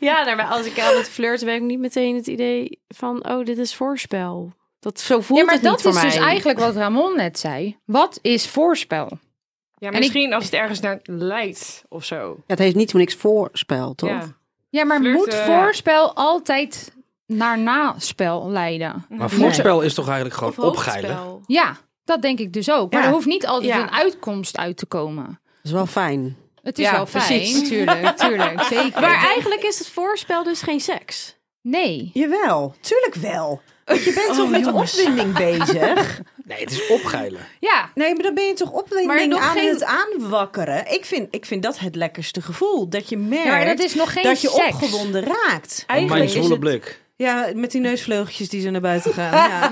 Speaker 6: Ja, nou, maar als ik aan het flirten ben, heb ik niet meteen het idee van, oh, dit is voorspel. Dat zo voelt
Speaker 3: Ja, maar
Speaker 6: het niet
Speaker 3: dat
Speaker 6: voor
Speaker 3: is dus
Speaker 6: mij.
Speaker 3: eigenlijk wat Ramon net zei. Wat is voorspel?
Speaker 4: Ja,
Speaker 3: ik-
Speaker 4: misschien als het ergens naar leidt of zo.
Speaker 2: Ja, het heeft niet voor niks voorspel, toch?
Speaker 4: Ja.
Speaker 3: Ja, maar
Speaker 4: Flirten,
Speaker 3: moet
Speaker 4: ja.
Speaker 3: voorspel altijd naar naspel leiden?
Speaker 5: Maar voorspel is toch eigenlijk
Speaker 6: Of
Speaker 5: gewoon opgeilen?
Speaker 6: hoofdspel.
Speaker 3: Ja, dat denk ik dus ook. Maar
Speaker 8: Ja.
Speaker 3: er hoeft niet altijd
Speaker 6: Ja.
Speaker 3: een uitkomst uit te komen.
Speaker 2: Dat is wel fijn.
Speaker 3: Het is
Speaker 7: Ja,
Speaker 3: wel fijn.
Speaker 7: precies.
Speaker 3: Tuurlijk, tuurlijk, zeker.
Speaker 6: Maar eigenlijk is het voorspel dus geen seks.
Speaker 3: nee.
Speaker 8: Jawel, tuurlijk wel. Want je bent toch met de opwinding bezig?
Speaker 5: Nee, het is opgeilen.
Speaker 3: Ja,
Speaker 8: Nee, maar dan ben je toch
Speaker 3: Maar
Speaker 8: opwinding
Speaker 3: nog
Speaker 8: aan
Speaker 3: geen-
Speaker 8: het aanwakkeren. Ik vind, ik vind dat het lekkerste gevoel. Dat je merkt
Speaker 3: ja, maar dat is nog geen
Speaker 8: dat je
Speaker 3: seks.
Speaker 8: opgewonden raakt.
Speaker 5: Mijn
Speaker 7: Eigenlijk is
Speaker 5: zwoele
Speaker 7: het,
Speaker 5: blik.
Speaker 8: Ja, met die neusvleugeltjes die zo naar buiten gaan. Ja.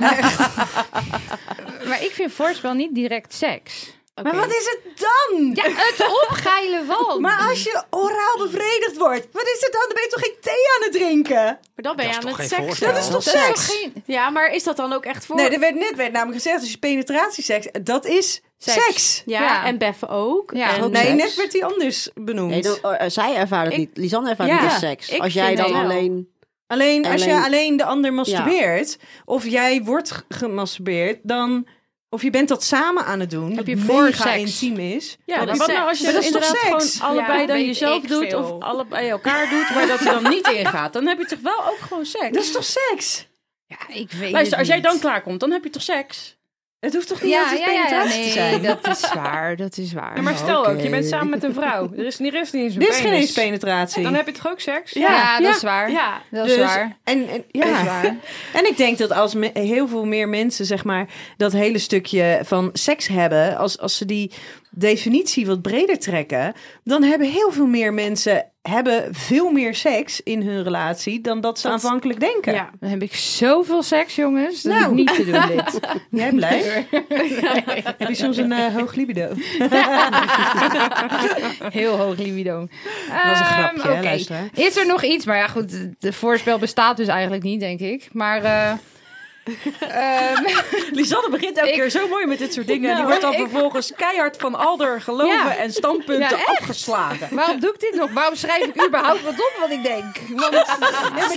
Speaker 3: Maar ik vind voorspel niet direct seks.
Speaker 6: Oké.
Speaker 8: Maar wat is het dan?
Speaker 3: Ja, het opgeilen van.
Speaker 8: Maar als je oraal bevredigd wordt, wat is het dan? Dan ben je toch geen thee aan het drinken?
Speaker 6: Maar dan ben je
Speaker 5: Dat is
Speaker 6: aan
Speaker 5: toch geen
Speaker 6: het seks.
Speaker 5: voorstel?
Speaker 8: Dat is toch
Speaker 3: dat is
Speaker 8: seks?
Speaker 3: toch geen...
Speaker 6: Ja, maar is dat dan ook echt voor?
Speaker 8: Nee, er werd net werd namelijk gezegd, als je penetratieseks, dat is seks.
Speaker 6: Seks. ja,
Speaker 3: Ja.
Speaker 6: en Beffen ook.
Speaker 3: Ja.
Speaker 6: En-
Speaker 2: Ook
Speaker 8: Nee,
Speaker 2: seks.
Speaker 8: net werd die anders benoemd.
Speaker 2: Nee, dan, eh, zij ervaart het
Speaker 6: Ik-
Speaker 2: niet. Lisanne ervaart
Speaker 8: Ja,
Speaker 2: niet als seks.
Speaker 6: ik
Speaker 2: Als jij
Speaker 6: vind
Speaker 2: dan
Speaker 6: het wel.
Speaker 2: alleen...
Speaker 8: alleen als
Speaker 2: alleen-
Speaker 8: je alleen de ander masturbeert, of jij wordt g- gemasturbeerd, dan... Of je bent dat samen aan het doen,
Speaker 3: Heb je
Speaker 8: wat
Speaker 3: voor
Speaker 8: mega
Speaker 3: seks.
Speaker 8: intiem is.
Speaker 7: Ja,
Speaker 6: Dat
Speaker 7: maar
Speaker 6: is
Speaker 7: wat nou
Speaker 6: seks.
Speaker 7: als je
Speaker 8: Maar dat is toch
Speaker 7: inderdaad
Speaker 8: seks?
Speaker 7: gewoon allebei
Speaker 6: Ja,
Speaker 7: dan
Speaker 6: weet
Speaker 7: jezelf
Speaker 6: ik
Speaker 7: doet
Speaker 6: veel.
Speaker 7: of allebei elkaar doet, maar dat je dan niet ingaat, dan heb je toch wel ook gewoon seks.
Speaker 8: Dat is toch seks?
Speaker 3: Ja, ik weet
Speaker 7: Luister,
Speaker 3: het
Speaker 7: als jij
Speaker 3: niet.
Speaker 7: dan klaarkomt, dan heb je toch seks.
Speaker 8: Het hoeft toch niet
Speaker 3: Ja,
Speaker 8: altijd
Speaker 3: ja, ja,
Speaker 8: penetratie
Speaker 3: ja,
Speaker 8: te
Speaker 3: nee,
Speaker 8: zijn?
Speaker 3: dat is waar, dat is waar.
Speaker 4: Ja, maar stel ook, je bent samen met een vrouw. Er is, er is niet eens een
Speaker 8: Dit is geen
Speaker 4: penis.
Speaker 8: eens penetratie.
Speaker 4: dus- Dan heb je toch ook seks?
Speaker 3: ja, dat is waar.
Speaker 6: Ja.
Speaker 3: Dat is
Speaker 8: Dus-
Speaker 3: waar.
Speaker 8: En, en,
Speaker 3: Dat is
Speaker 8: ja.
Speaker 3: waar.
Speaker 8: en ik denk dat als me- heel veel meer mensen, zeg maar, dat hele stukje van seks hebben, als, als ze die definitie wat breder trekken, dan hebben heel veel meer mensen hebben veel meer seks in hun relatie dan dat ze aanvankelijk denken.
Speaker 6: Ja.
Speaker 3: Dan heb ik zoveel seks, jongens. Dat is
Speaker 8: Nou.
Speaker 3: niet te doen, dit.
Speaker 8: Jij blij? Heb je soms een eh, hoog libido?
Speaker 3: Heel hoog libido.
Speaker 8: Dat was een grapje,
Speaker 3: Ehm,
Speaker 8: hè,
Speaker 3: oké.
Speaker 8: luisteraar.
Speaker 3: Is er nog iets? Maar ja, goed, de voorspel bestaat dus eigenlijk niet, denk ik. Maar eh, ehm,
Speaker 7: Lisanne begint elke
Speaker 3: Ik-
Speaker 7: keer zo mooi met dit soort dingen. en die
Speaker 3: Nou,
Speaker 7: wordt dan
Speaker 3: ik-
Speaker 7: vervolgens keihard van alder geloven
Speaker 3: Ja.
Speaker 7: en standpunten
Speaker 3: Ja, echt.
Speaker 7: afgeslagen.
Speaker 3: waarom doe ik dit nog? Waarom schrijf ik überhaupt wat op wat ik denk? Want,
Speaker 8: Nee maar,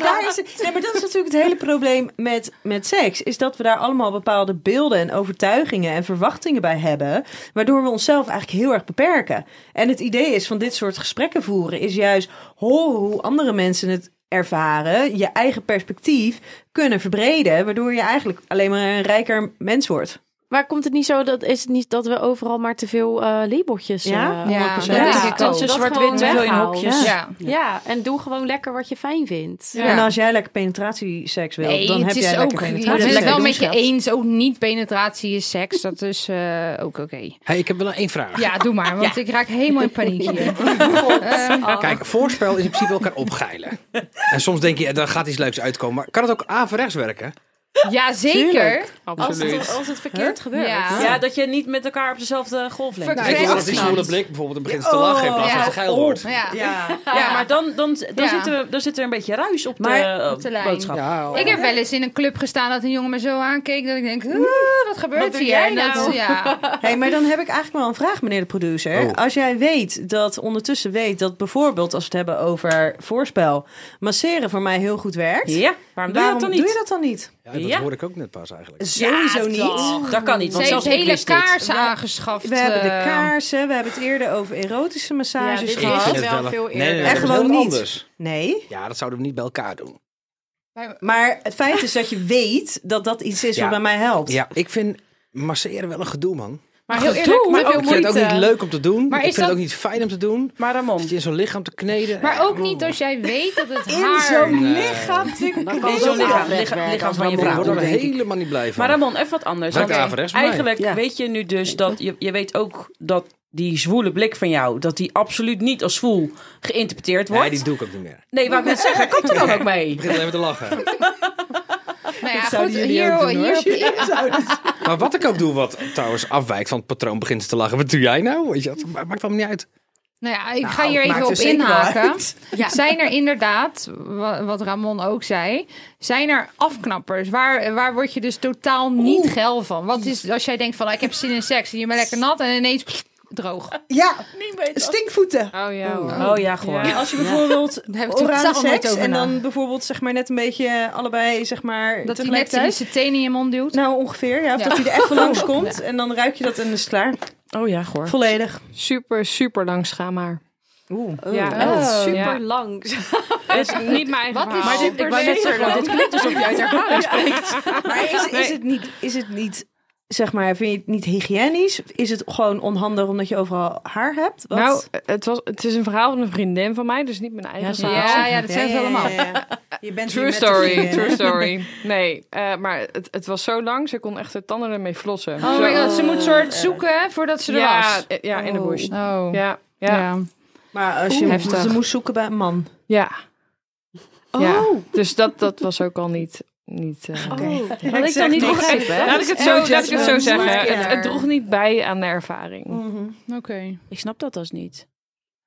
Speaker 8: daar is, nee, maar dat is natuurlijk het hele probleem met, met seks. Is dat we daar allemaal bepaalde beelden en overtuigingen en verwachtingen bij hebben. Waardoor we onszelf eigenlijk heel erg beperken. En het idee is van dit soort gesprekken voeren is juist horen hoe andere mensen het ervaren. Je eigen perspectief kunnen verbreden. Waardoor je eigenlijk alleen maar een rijker mens wordt.
Speaker 6: Maar komt het niet zo dat is het niet dat we overal maar te veel eh labeltjes
Speaker 8: Ja?
Speaker 6: eh,
Speaker 3: Ja,
Speaker 6: hokjes
Speaker 3: dat
Speaker 6: hebben?
Speaker 3: denk ik ook.
Speaker 7: Dus
Speaker 6: ze dat
Speaker 7: zwart-wit,
Speaker 6: gewoon
Speaker 7: te veel in
Speaker 6: weghaalt.
Speaker 7: hokjes.
Speaker 6: Ja.
Speaker 3: ja.
Speaker 6: Ja, en doe gewoon lekker wat je fijn vindt.
Speaker 3: Ja.
Speaker 8: En als jij lekker penetratieseks wil,
Speaker 3: Nee,
Speaker 8: dan heb
Speaker 3: het is
Speaker 8: jij
Speaker 3: ook.
Speaker 8: lekker
Speaker 3: Ik
Speaker 8: penetratie.
Speaker 3: ben het
Speaker 8: Lekker
Speaker 3: wel
Speaker 8: doen,
Speaker 3: met je
Speaker 8: schat.
Speaker 3: eens. Ook niet penetratie is seks. Dat is eh, ook oké.
Speaker 5: Hey, ik heb wel één vraag.
Speaker 3: Ja, doe maar, want ik raak helemaal in paniek hier. Ehm,
Speaker 5: Kijk, voorspel is in principe elkaar opgeilen. En soms denk je, daar gaat iets leuks uitkomen. Maar kan het ook averechts werken?
Speaker 3: ja, zeker.
Speaker 6: Als, het, als het verkeerd gebeurt.
Speaker 3: Ja.
Speaker 7: Ja, dat je niet met elkaar op dezelfde golflengte
Speaker 3: Fuck,
Speaker 5: Nou, ik
Speaker 3: Nee,
Speaker 5: hoor dat
Speaker 3: dat
Speaker 5: die
Speaker 3: snap
Speaker 5: zwoele blik bijvoorbeeld, dan begint ze te lachen in plaats van
Speaker 3: Ja. Oh.
Speaker 5: dat ze geil wordt.
Speaker 3: Ja.
Speaker 8: Ja.
Speaker 7: Ja, maar dan, dan, dan,
Speaker 3: Ja.
Speaker 7: zitten we, dan zit er een beetje ruis op de,
Speaker 8: Maar-
Speaker 3: op de
Speaker 7: eh,
Speaker 3: lijn.
Speaker 7: boodschap.
Speaker 5: Ja,
Speaker 3: Ik heb wel eens in een club gestaan dat een jongen me zo aankeek dat ik denk, "Oeh, wat gebeurt
Speaker 6: Wat doe
Speaker 3: hier?
Speaker 6: jij
Speaker 3: En dat-
Speaker 6: nou?
Speaker 3: ja.
Speaker 8: Hey, maar dan heb ik eigenlijk wel een vraag, meneer de producer.
Speaker 5: Oh.
Speaker 8: Als jij weet dat ondertussen weet dat bijvoorbeeld als we het hebben over voorspel, masseren voor mij heel goed werkt.
Speaker 7: Ja, waarom doe je
Speaker 8: Waarom
Speaker 7: dat dan niet?
Speaker 8: doe je dat dan niet?
Speaker 5: Ja, dat
Speaker 7: Ja.
Speaker 5: hoor ik ook net pas eigenlijk.
Speaker 8: Sowieso niet.
Speaker 7: Dat kan niet, want
Speaker 3: Ze heeft
Speaker 7: zelfs ik
Speaker 3: hele
Speaker 7: wist dit.
Speaker 3: kaarsen aangeschaft.
Speaker 8: We hebben de
Speaker 3: eh,
Speaker 8: kaarsen, we hebben het eerder over erotische massages
Speaker 6: Ja, dit
Speaker 8: gehad.
Speaker 6: is- wel veel
Speaker 5: Nee, nee,
Speaker 6: eerder.
Speaker 5: nee,
Speaker 8: Echt
Speaker 5: dat is
Speaker 8: gewoon
Speaker 5: heel
Speaker 8: niet.
Speaker 5: anders.
Speaker 8: Nee,
Speaker 5: Ja, dat zouden we niet bij elkaar doen.
Speaker 8: maar het feit is dat je weet dat dat iets is
Speaker 5: Ja.
Speaker 8: wat bij mij helpt.
Speaker 5: Ja, ik vind masseren wel een gedoe, man.
Speaker 4: Maar heel
Speaker 3: Gedoe,
Speaker 4: eerlijk, maar
Speaker 3: maar
Speaker 4: veel
Speaker 5: Ik vind het ook
Speaker 4: moeite.
Speaker 5: niet leuk om te doen.
Speaker 3: Maar
Speaker 5: ik vind
Speaker 3: is
Speaker 5: het
Speaker 3: dat-
Speaker 5: ook niet fijn om te doen.
Speaker 7: Maar Ramon,
Speaker 5: Zit je in zo'n lichaam te kneden.
Speaker 3: Maar ook
Speaker 5: Ja,
Speaker 3: niet als jij weet dat het
Speaker 8: In
Speaker 3: haar...
Speaker 8: zo'n
Speaker 5: Nee.
Speaker 8: lichaam te
Speaker 2: Dan
Speaker 7: Nee,
Speaker 2: kan
Speaker 7: zo'n
Speaker 2: zo'n
Speaker 7: lichaam- lichaam- lichaam
Speaker 2: lichaam werken
Speaker 7: van je
Speaker 5: Ik
Speaker 7: vrouw.
Speaker 5: word er
Speaker 2: als denk ik.
Speaker 5: helemaal niet blij van.
Speaker 7: Maar Ramon, even wat anders.
Speaker 5: Werkt
Speaker 7: want
Speaker 5: averechts voor mij.
Speaker 7: eigenlijk
Speaker 2: Ja.
Speaker 7: weet je nu dus dat je, je weet ook dat die zwoele blik van jou, dat die absoluut niet als zwoel geïnterpreteerd wordt.
Speaker 5: nee, die doe ik ook niet meer. Ik
Speaker 7: Nee, wou ik net zeggen, komt er dan ook mee.
Speaker 5: begin alleen maar te lachen.
Speaker 3: Nou ja,
Speaker 8: Dat
Speaker 3: goed,
Speaker 8: zouden jullie
Speaker 3: hier,
Speaker 8: ook doen, hoor.
Speaker 3: hier, hier,
Speaker 5: Maar wat ik ook doe, wat trouwens afwijkt van het patroon, begint ze te lachen. Wat doe jij nou? Weet je, dat maakt allemaal niet uit.
Speaker 3: Nou ja, ik
Speaker 8: Nou,
Speaker 3: ga hier
Speaker 8: maakt
Speaker 3: even
Speaker 8: er
Speaker 3: op
Speaker 8: zeker wel
Speaker 3: inhaken.
Speaker 8: uit.
Speaker 3: Ja. Zijn er inderdaad, wa- wat Ramon ook zei, zijn er afknappers? Waar, waar word je dus totaal niet geil van? Wat is als jij denkt van "Oh, ik heb zin in seks en je bent lekker nat en ineens pff, droog?
Speaker 8: Ja, stinkvoeten.
Speaker 4: Oh ja. hoor.
Speaker 7: Oh ja, gewoon.
Speaker 4: Ja.
Speaker 8: Als je bijvoorbeeld
Speaker 3: Daar heb ik
Speaker 8: orale
Speaker 3: totaal nooit
Speaker 8: seks
Speaker 3: over
Speaker 8: en
Speaker 3: na.
Speaker 8: dan bijvoorbeeld zeg maar net een beetje allebei zeg maar
Speaker 3: Dat hij net
Speaker 8: tegelijkertijd.
Speaker 3: zijn tenen in je mond duwt.
Speaker 8: Nou, ongeveer. Ja. Of
Speaker 3: Ja.
Speaker 8: dat hij er echt van langs komt. En dan ruik je dat en is het klaar.
Speaker 7: Oh ja, gewoon.
Speaker 8: Volledig.
Speaker 4: Super, super lang schaamhaar.
Speaker 8: Oeh.
Speaker 3: Oh.
Speaker 4: Ja,
Speaker 6: Echt
Speaker 4: echt
Speaker 6: super
Speaker 4: ja.
Speaker 6: lang.
Speaker 4: Het is niet mijn eigen
Speaker 3: Wat is
Speaker 4: verhaal.
Speaker 3: super zeker dan?
Speaker 7: dit klinkt dus alsof jij uit ervaring spreekt.
Speaker 8: Maar is, is, het niet, is het niet, zeg maar, vind je het niet hygiënisch? Is het gewoon onhandig omdat je overal haar hebt? Wat?
Speaker 4: Nou, het, was, het is een verhaal van een vriendin van mij, dus niet mijn eigen
Speaker 7: Ja,
Speaker 4: verhaal.
Speaker 3: ja, ja, dat zijn ze
Speaker 8: Ja, ja, ja,
Speaker 3: allemaal.
Speaker 8: ja. Je bent
Speaker 4: True
Speaker 8: hier met de
Speaker 4: story,
Speaker 8: vriendin.
Speaker 4: true story. Nee, eh, maar het, het was zo lang, ze kon echt de tanden ermee flossen.
Speaker 3: Oh
Speaker 4: Zo-
Speaker 3: my god, ze moet soort zoeken hè, voordat ze er
Speaker 4: ja,
Speaker 3: was.
Speaker 4: eh, ja, in de bush.
Speaker 3: Oh. Ja.
Speaker 4: Ja, ja, ja.
Speaker 8: Maar als je
Speaker 4: Heftig.
Speaker 8: ze moest zoeken bij een man.
Speaker 3: Oh.
Speaker 4: ja. Dus dat, dat was ook al niet niet... eh,
Speaker 7: Had ik dan niet
Speaker 4: niks.
Speaker 7: begrepen, hè?
Speaker 4: Laat ik het zo, laat ik het zo
Speaker 6: judgmental.
Speaker 4: zeggen. Het,
Speaker 6: Smaakbaar.
Speaker 4: het droeg niet bij aan de ervaring.
Speaker 3: Oké.
Speaker 7: Ik snap dat als niet.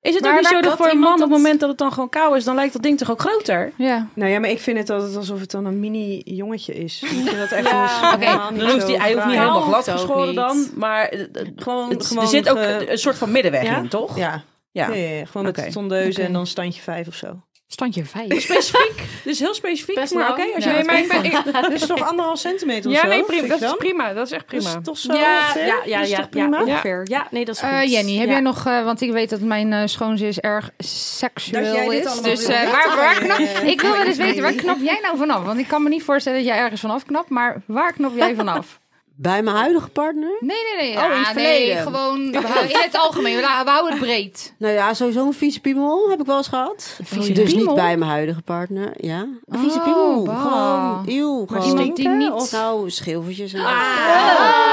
Speaker 7: Is het
Speaker 3: Maar
Speaker 7: ook niet zo
Speaker 3: maakt
Speaker 7: dat
Speaker 3: dat
Speaker 7: voor een man
Speaker 3: iemand
Speaker 7: op het
Speaker 3: dat-
Speaker 7: moment dat het dan gewoon kou is, dan lijkt dat ding toch ook groter?
Speaker 3: Ja.
Speaker 8: Nou ja, maar ik vind het altijd alsof het dan een mini jongetje is. Ik vind dat echt
Speaker 6: Ja.
Speaker 8: een- helemaal
Speaker 7: Dan hoeft
Speaker 8: zo
Speaker 7: die ei hoeft niet
Speaker 8: fraai.
Speaker 7: helemaal
Speaker 6: Kou
Speaker 7: glad
Speaker 6: hoeft ook
Speaker 7: geschoren
Speaker 6: niet.
Speaker 7: dan, maar eh, eh,
Speaker 8: Gewoon,
Speaker 7: het-
Speaker 8: gewoon
Speaker 7: er zit ook
Speaker 8: ge-
Speaker 7: een soort van middenweg
Speaker 8: Ja?
Speaker 7: in, toch?
Speaker 8: ja.
Speaker 7: Ja.
Speaker 8: Ja, ja, ja. gewoon met
Speaker 7: Oké.
Speaker 8: tondeuzen en dan standje vijf of zo.
Speaker 3: Standje 5.
Speaker 7: Specifiek, dus heel specifiek.
Speaker 6: Best
Speaker 7: maar
Speaker 6: lang.
Speaker 7: oké, als
Speaker 6: Ja.
Speaker 7: je
Speaker 4: Nee,
Speaker 7: dat
Speaker 4: maar ik ben... ik-
Speaker 8: Dat is toch anderhalf centimeter of
Speaker 4: ja,
Speaker 8: zo?
Speaker 4: nee,
Speaker 8: vind
Speaker 4: prima.
Speaker 8: ik
Speaker 4: Dat is
Speaker 8: dan?
Speaker 4: prima. Dat is echt prima.
Speaker 8: Dat is toch zo
Speaker 6: Ja,
Speaker 8: ongeveer?
Speaker 6: ja, ja,
Speaker 8: Dat is
Speaker 6: ja,
Speaker 8: toch
Speaker 6: ja,
Speaker 8: prima?
Speaker 6: ongeveer. Ja, nee, dat is goed.
Speaker 3: Eh, Jenny, heb
Speaker 6: Ja.
Speaker 3: jij nog... eh, want ik weet dat mijn eh, schoonzus erg
Speaker 8: Dat jij
Speaker 3: seksueel
Speaker 8: dit
Speaker 3: is.
Speaker 8: allemaal
Speaker 3: Dus
Speaker 8: wil
Speaker 3: eh, waar,
Speaker 8: weten.
Speaker 3: waar knap...
Speaker 8: Eh,
Speaker 3: Ik wil wel eens
Speaker 8: nee.
Speaker 3: weten, waar knap jij nou vanaf? Want ik kan me niet voorstellen dat jij ergens vanaf knapt. Maar waar knap jij vanaf?
Speaker 2: Bij mijn huidige partner?
Speaker 3: Nee, nee, nee.
Speaker 2: Oh, in het
Speaker 3: Ja, nee,
Speaker 2: verleden.
Speaker 3: gewoon eh, in het algemeen. We la- we houden het breed.
Speaker 2: Nou ja, sowieso een vieze piemel heb ik wel eens gehad. dus
Speaker 3: piemel?
Speaker 2: niet bij mijn huidige partner, ja. Een vieze
Speaker 3: Oh,
Speaker 2: piemel,
Speaker 3: bah.
Speaker 2: gewoon, eeuw.
Speaker 3: Maar
Speaker 2: gewoon.
Speaker 3: stinkt die niet?
Speaker 2: Of nou, schilfertjes en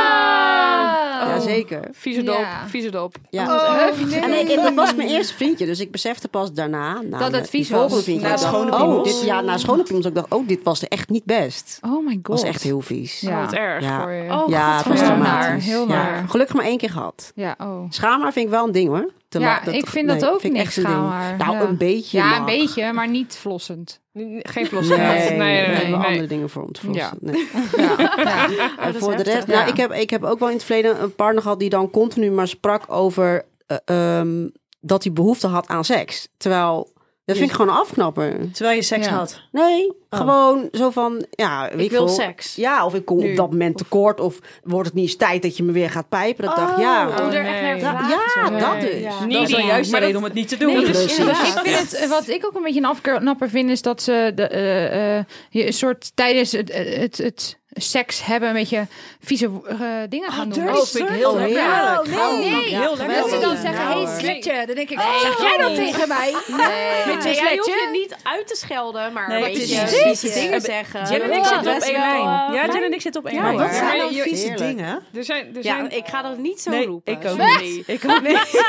Speaker 3: Ah.
Speaker 2: Jazeker.
Speaker 4: Vieze doop.
Speaker 3: Ja.
Speaker 4: Vieze doop.
Speaker 2: Ja.
Speaker 3: Oh, nee.
Speaker 2: En ik, en dat was mijn eerste vriendje, dus ik besefte pas daarna... na
Speaker 3: Ah, Dat
Speaker 2: de-
Speaker 3: het vies
Speaker 2: de volgende
Speaker 3: was. Nou,
Speaker 2: Vriendje,
Speaker 3: Na
Speaker 2: ik dacht,
Speaker 8: schone
Speaker 2: oh,
Speaker 8: piemels.
Speaker 2: dit, ja, na schone piemels. Ik dacht, oh, dit was er echt niet best.
Speaker 3: Oh my god.
Speaker 2: was echt heel vies.
Speaker 3: Ja.
Speaker 4: Wat erg
Speaker 2: Ja.
Speaker 4: voor je.
Speaker 3: Oh,
Speaker 2: ja, het was
Speaker 3: godverdomme.
Speaker 2: dramatisch.
Speaker 3: Naar, heel
Speaker 2: Ja.
Speaker 3: naar.
Speaker 2: Gelukkig maar één keer gehad.
Speaker 3: Ja, oh.
Speaker 2: Schaamhaar vind ik wel een ding hoor. Te
Speaker 3: ja,
Speaker 2: lang- dat-
Speaker 3: ik vind
Speaker 2: nee,
Speaker 3: dat ook
Speaker 2: vind ik
Speaker 3: niks
Speaker 2: echt een ding.
Speaker 3: schaamhaar.
Speaker 2: Nou,
Speaker 3: ja.
Speaker 2: een beetje
Speaker 3: Ja,
Speaker 2: mag.
Speaker 3: een beetje, maar niet vlossend.
Speaker 4: N- Geen plots.
Speaker 2: Nee, nee,
Speaker 4: nee, nee,
Speaker 2: daar hebben we
Speaker 4: nee.
Speaker 2: andere dingen voor om te
Speaker 3: Ja.
Speaker 2: vossen. Nee.
Speaker 3: Ja, ja.
Speaker 2: En voor de rest,
Speaker 3: heftig.
Speaker 2: nou,
Speaker 3: Ja.
Speaker 2: ik, heb, ik heb ook wel in het verleden een partner gehad die dan continu maar sprak over eh, ehm, dat hij behoefte had aan seks. Terwijl, dat vind ik gewoon een afknapper.
Speaker 8: Terwijl je seks
Speaker 3: Ja.
Speaker 8: had.
Speaker 2: Nee,
Speaker 3: Oh.
Speaker 2: gewoon zo van, ja, weet
Speaker 6: Ik wil
Speaker 2: veel.
Speaker 6: seks.
Speaker 2: Ja, of ik kom op dat moment tekort. Of wordt het niet eens tijd dat je me weer gaat pijpen? Dat dacht ja.
Speaker 4: Oh,
Speaker 6: er
Speaker 4: nee.
Speaker 6: echt naar vragen.
Speaker 2: ja,
Speaker 4: Nee.
Speaker 2: dat dus.
Speaker 6: Ja.
Speaker 7: niet
Speaker 4: Ja.
Speaker 7: dan juist de
Speaker 4: Maar dat-
Speaker 7: reden om het niet te doen.
Speaker 2: Nee,
Speaker 7: Dus-
Speaker 2: dat is- Precies.
Speaker 3: Ik vind het, wat ik ook een beetje een afknapper vind, is dat ze de, eh, eh, je een soort tijdens het, eh, het, het seks hebben een beetje vieze eh, dingen gaan doen.
Speaker 7: Oh, vind ik heel
Speaker 2: heerlijk.
Speaker 7: lekker.
Speaker 3: Oh, nee.
Speaker 2: Ja, geweldig.
Speaker 3: Dat ze dan zeggen, hey sletje. Dan denk ik, wat zeg jij dat tegen mij? Nee.
Speaker 6: Nee, ja, je hoeft je niet uit te schelden, maar
Speaker 7: Nee,
Speaker 6: een
Speaker 7: het is
Speaker 6: beetje
Speaker 7: dit.
Speaker 6: vieze dingen zeggen.
Speaker 7: Jen en ik
Speaker 6: Ja,
Speaker 7: zitten op
Speaker 6: best
Speaker 7: één
Speaker 6: wel,
Speaker 7: lijn.
Speaker 6: eh,
Speaker 7: Ja, Jen en ik zitten op één
Speaker 6: Ja,
Speaker 7: lijn.
Speaker 8: Wat
Speaker 6: hoor.
Speaker 8: zijn
Speaker 6: Ja,
Speaker 8: dan
Speaker 6: je-
Speaker 8: vieze
Speaker 2: heerlijk.
Speaker 8: dingen?
Speaker 4: Er zijn... Er zijn...
Speaker 6: Ja, ik ga dat niet zo
Speaker 8: Nee,
Speaker 6: roepen.
Speaker 8: ik ook
Speaker 6: sorry.
Speaker 8: niet. Ik ook niet.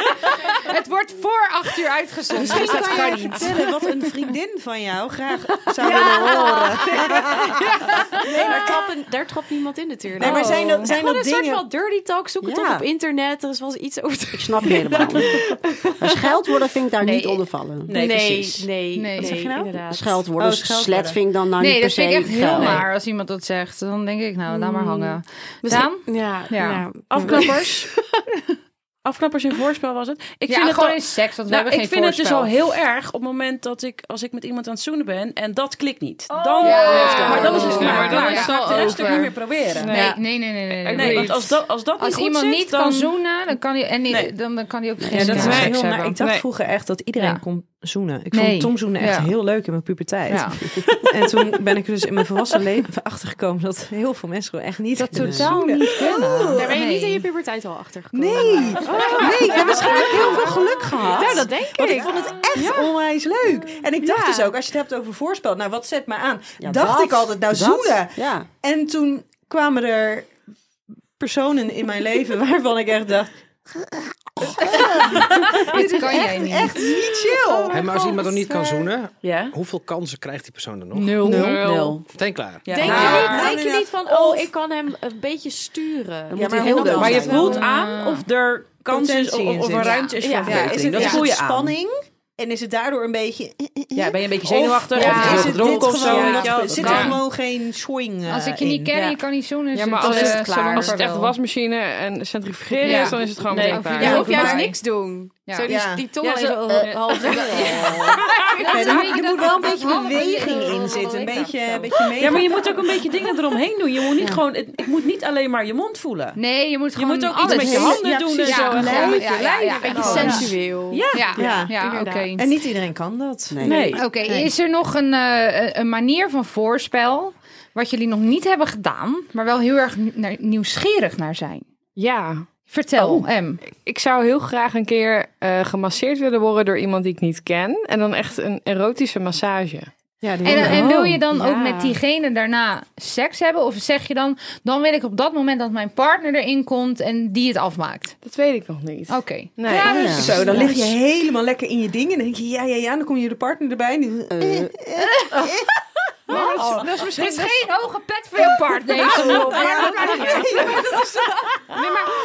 Speaker 3: Het wordt voor acht uur uitgezonden.
Speaker 8: Misschien kan jij even vertellen wat een vriendin van jou graag zou willen horen.
Speaker 6: Nee, daar, trappen, daar trapt niemand in natuurlijk. Oh.
Speaker 8: Nee, maar zijn dat, zijn
Speaker 6: Gewoon
Speaker 8: dat
Speaker 6: een soort
Speaker 8: dingen...
Speaker 6: van dirty talk. Zoek het
Speaker 2: Ja.
Speaker 6: op op internet. Er is wel eens iets over te
Speaker 2: Ik snap je helemaal niet. Maar scheldwoorden vind ik daar
Speaker 6: Nee.
Speaker 2: niet onder vallen.
Speaker 7: Nee, precies.
Speaker 6: nee,
Speaker 3: Nee. Wat zeg je nou?
Speaker 6: inderdaad.
Speaker 2: Scheldwoorden,
Speaker 8: Oh, scheldwoorden.
Speaker 2: slet vind ik dan nou
Speaker 3: Nee,
Speaker 2: niet per
Speaker 3: dat
Speaker 2: se.
Speaker 3: vind ik echt heel
Speaker 2: geil.
Speaker 3: naar als iemand dat zegt. Dan denk ik, nou, laat maar
Speaker 7: Mm.
Speaker 3: hangen. Daan?
Speaker 6: Ja,
Speaker 3: Ja.
Speaker 6: nou,
Speaker 7: Afknappers. Afknappers in voorspel was het. Ik
Speaker 3: Ik
Speaker 7: vind
Speaker 3: vind
Speaker 7: het
Speaker 3: gewoon
Speaker 7: al-
Speaker 3: in seks, want
Speaker 7: Nou,
Speaker 3: we hebben
Speaker 7: ik
Speaker 3: geen
Speaker 7: vind het dus
Speaker 3: voorspel.
Speaker 7: al heel erg op het moment dat ik, als ik met iemand aan het zoenen ben en dat klikt niet. Dan,
Speaker 3: Ja.
Speaker 7: Maar dan is het voor
Speaker 3: Ja,
Speaker 7: mij
Speaker 3: maar dan
Speaker 7: klaar.
Speaker 3: is
Speaker 7: Ik
Speaker 3: het
Speaker 7: ga
Speaker 3: al
Speaker 7: de rest ook
Speaker 3: over.
Speaker 7: niet meer proberen.
Speaker 4: Nee.
Speaker 3: Nee, nee, nee, nee. nee,
Speaker 7: Nee,
Speaker 3: nee.
Speaker 7: want als dat, als dat
Speaker 3: Als
Speaker 7: niet goed
Speaker 3: iemand
Speaker 7: zit,
Speaker 3: niet
Speaker 7: dan...
Speaker 3: kan zoenen, dan kan hij en die-
Speaker 7: Nee.
Speaker 3: dan, dan kan hij ook geen
Speaker 8: Ja, dat is
Speaker 3: seks
Speaker 8: wel heel
Speaker 3: hebben.
Speaker 8: naar. Ik dacht
Speaker 4: Nee.
Speaker 8: vroeger echt dat iedereen
Speaker 3: Ja.
Speaker 8: kon zoenen. Ik
Speaker 3: Nee.
Speaker 8: vond tongzoenen echt
Speaker 3: Ja.
Speaker 8: heel leuk in mijn puberteit.
Speaker 3: ja.
Speaker 8: En toen ben ik er dus in mijn volwassen leven achtergekomen dat heel veel mensen gewoon echt niet dat
Speaker 3: Totaal niet kunnen.
Speaker 8: Oh,
Speaker 6: daar ben je
Speaker 3: Nee.
Speaker 6: niet in je puberteit al achter gekomen.
Speaker 8: Nee, nee, en misschien heb ik heel veel geluk gehad.
Speaker 6: Nou, dat denk ik.
Speaker 8: Want ik vond het echt onwijs leuk. En ik dacht
Speaker 6: Ja.
Speaker 8: dus ook, als je het hebt over voorspel, nou wat zet me aan?
Speaker 2: Ja,
Speaker 8: dacht
Speaker 2: dat,
Speaker 8: ik altijd, nou
Speaker 2: dat.
Speaker 8: zoenen.
Speaker 2: Ja.
Speaker 8: En toen kwamen er personen in mijn leven waarvan ik echt dacht,
Speaker 3: Dit kan jij niet.
Speaker 8: echt niet chill.
Speaker 5: Hey, maar als iemand nog niet kan zoenen,
Speaker 7: Ja.
Speaker 5: hoeveel kansen krijgt die persoon dan nog?
Speaker 3: Nul.
Speaker 7: Nul.
Speaker 5: Meteen klaar.
Speaker 7: Ja.
Speaker 6: Denk,
Speaker 7: Nou,
Speaker 6: je, niet,
Speaker 8: nou,
Speaker 6: denk je niet van, oh, ik kan hem een beetje sturen?
Speaker 8: Ja,
Speaker 2: Dan moet hij
Speaker 8: maar
Speaker 2: heel
Speaker 8: hoe dan?
Speaker 2: leuk
Speaker 7: Maar je
Speaker 2: zijn.
Speaker 7: voelt aan
Speaker 3: Ah.
Speaker 7: of er kans is of,
Speaker 8: Potentie in
Speaker 7: of er
Speaker 8: zit.
Speaker 7: ruimte is voor
Speaker 6: Ja.
Speaker 7: verbetering.
Speaker 8: is het,
Speaker 7: dat
Speaker 8: is
Speaker 7: voel je
Speaker 8: het
Speaker 7: aan.
Speaker 8: spanning? En is het daardoor een beetje... eh,
Speaker 7: Ja, ben je een beetje zenuwachtig? Of,
Speaker 3: ja,
Speaker 7: ja,
Speaker 3: is
Speaker 7: heel
Speaker 3: het
Speaker 7: gedronken of zo?
Speaker 8: gewoon-
Speaker 7: weet je wel?
Speaker 8: er Zit er
Speaker 3: kan.
Speaker 8: gewoon geen swing eh,
Speaker 3: Als ik je niet
Speaker 8: in?
Speaker 3: ken,
Speaker 7: Ja.
Speaker 3: je kan niet zoenen.
Speaker 4: Ja,
Speaker 3: is
Speaker 4: maar
Speaker 3: het,
Speaker 4: als
Speaker 3: eh,
Speaker 4: het,
Speaker 3: zo lang
Speaker 4: als het
Speaker 3: maar
Speaker 4: echt
Speaker 3: wel.
Speaker 4: wasmachine en centrifugeren
Speaker 3: Ja.
Speaker 4: is, dan is het gewoon
Speaker 7: Nee.
Speaker 4: meteen klaar.
Speaker 3: Ja,
Speaker 6: Ja, of juist
Speaker 3: maar-
Speaker 6: niks doen.
Speaker 3: Ja.
Speaker 6: Zo die,
Speaker 8: Ja.
Speaker 6: die tong
Speaker 7: Ja,
Speaker 6: alleen
Speaker 7: zo,
Speaker 6: zo,
Speaker 7: eh,
Speaker 6: eh, half
Speaker 8: Nee,
Speaker 3: Ja,
Speaker 8: er moet-
Speaker 3: weet je
Speaker 8: er
Speaker 3: dat
Speaker 8: moet wel een
Speaker 3: dat
Speaker 8: beetje
Speaker 3: halve-
Speaker 8: beweging in zitten. Een beetje, een beetje mee.
Speaker 7: Ja, maar je moet ook een beetje dingen eromheen doen. Je moet niet gewoon, het, ik moet niet alleen maar je mond voelen.
Speaker 3: Nee, je moet
Speaker 7: Je
Speaker 3: gewoon
Speaker 7: moet ook iets
Speaker 3: alles
Speaker 7: met je handen
Speaker 8: Ja,
Speaker 7: doen en
Speaker 8: precies.
Speaker 7: zo. En
Speaker 8: Ja,
Speaker 7: gewoon met
Speaker 3: ja,
Speaker 7: je
Speaker 3: ja,
Speaker 7: lijf.
Speaker 3: ja,
Speaker 7: en
Speaker 3: ja,
Speaker 7: alles.
Speaker 3: oh, ja.
Speaker 6: sensueel.
Speaker 7: Ja.
Speaker 3: Ja, ja,
Speaker 8: Ja,
Speaker 3: oké.
Speaker 6: inderdaad.
Speaker 8: En niet iedereen kan dat.
Speaker 2: Nee.
Speaker 7: Nee.
Speaker 3: Oké, is er nog een, eh, een manier van voorspel wat jullie nog niet hebben gedaan, maar wel heel erg ni- naar- nieuwsgierig naar zijn?
Speaker 4: Ja,
Speaker 3: Vertel, Em.
Speaker 4: ik zou heel graag een keer eh, gemasseerd willen worden door iemand die ik niet ken. En dan echt een erotische massage.
Speaker 8: Ja, die
Speaker 3: En, eh,
Speaker 8: horen.
Speaker 3: en wil je dan ook
Speaker 6: ja.
Speaker 3: met diegene daarna seks hebben? Of zeg je dan, dan wil ik op dat moment dat mijn partner erin komt en die het afmaakt?
Speaker 4: Dat weet ik nog niet.
Speaker 3: Oké.
Speaker 4: Nee.
Speaker 3: Ja,
Speaker 4: Oh,
Speaker 3: dus-
Speaker 2: ja.
Speaker 8: Zo, dan lig je eh, helemaal lekker in je ding. En dan denk je, ja, ja, ja. En dan kom je de partner erbij. En die...
Speaker 2: Eh,
Speaker 4: Oh.
Speaker 3: dat is misschien geen hoge pet voor je paard, deze.
Speaker 8: oh,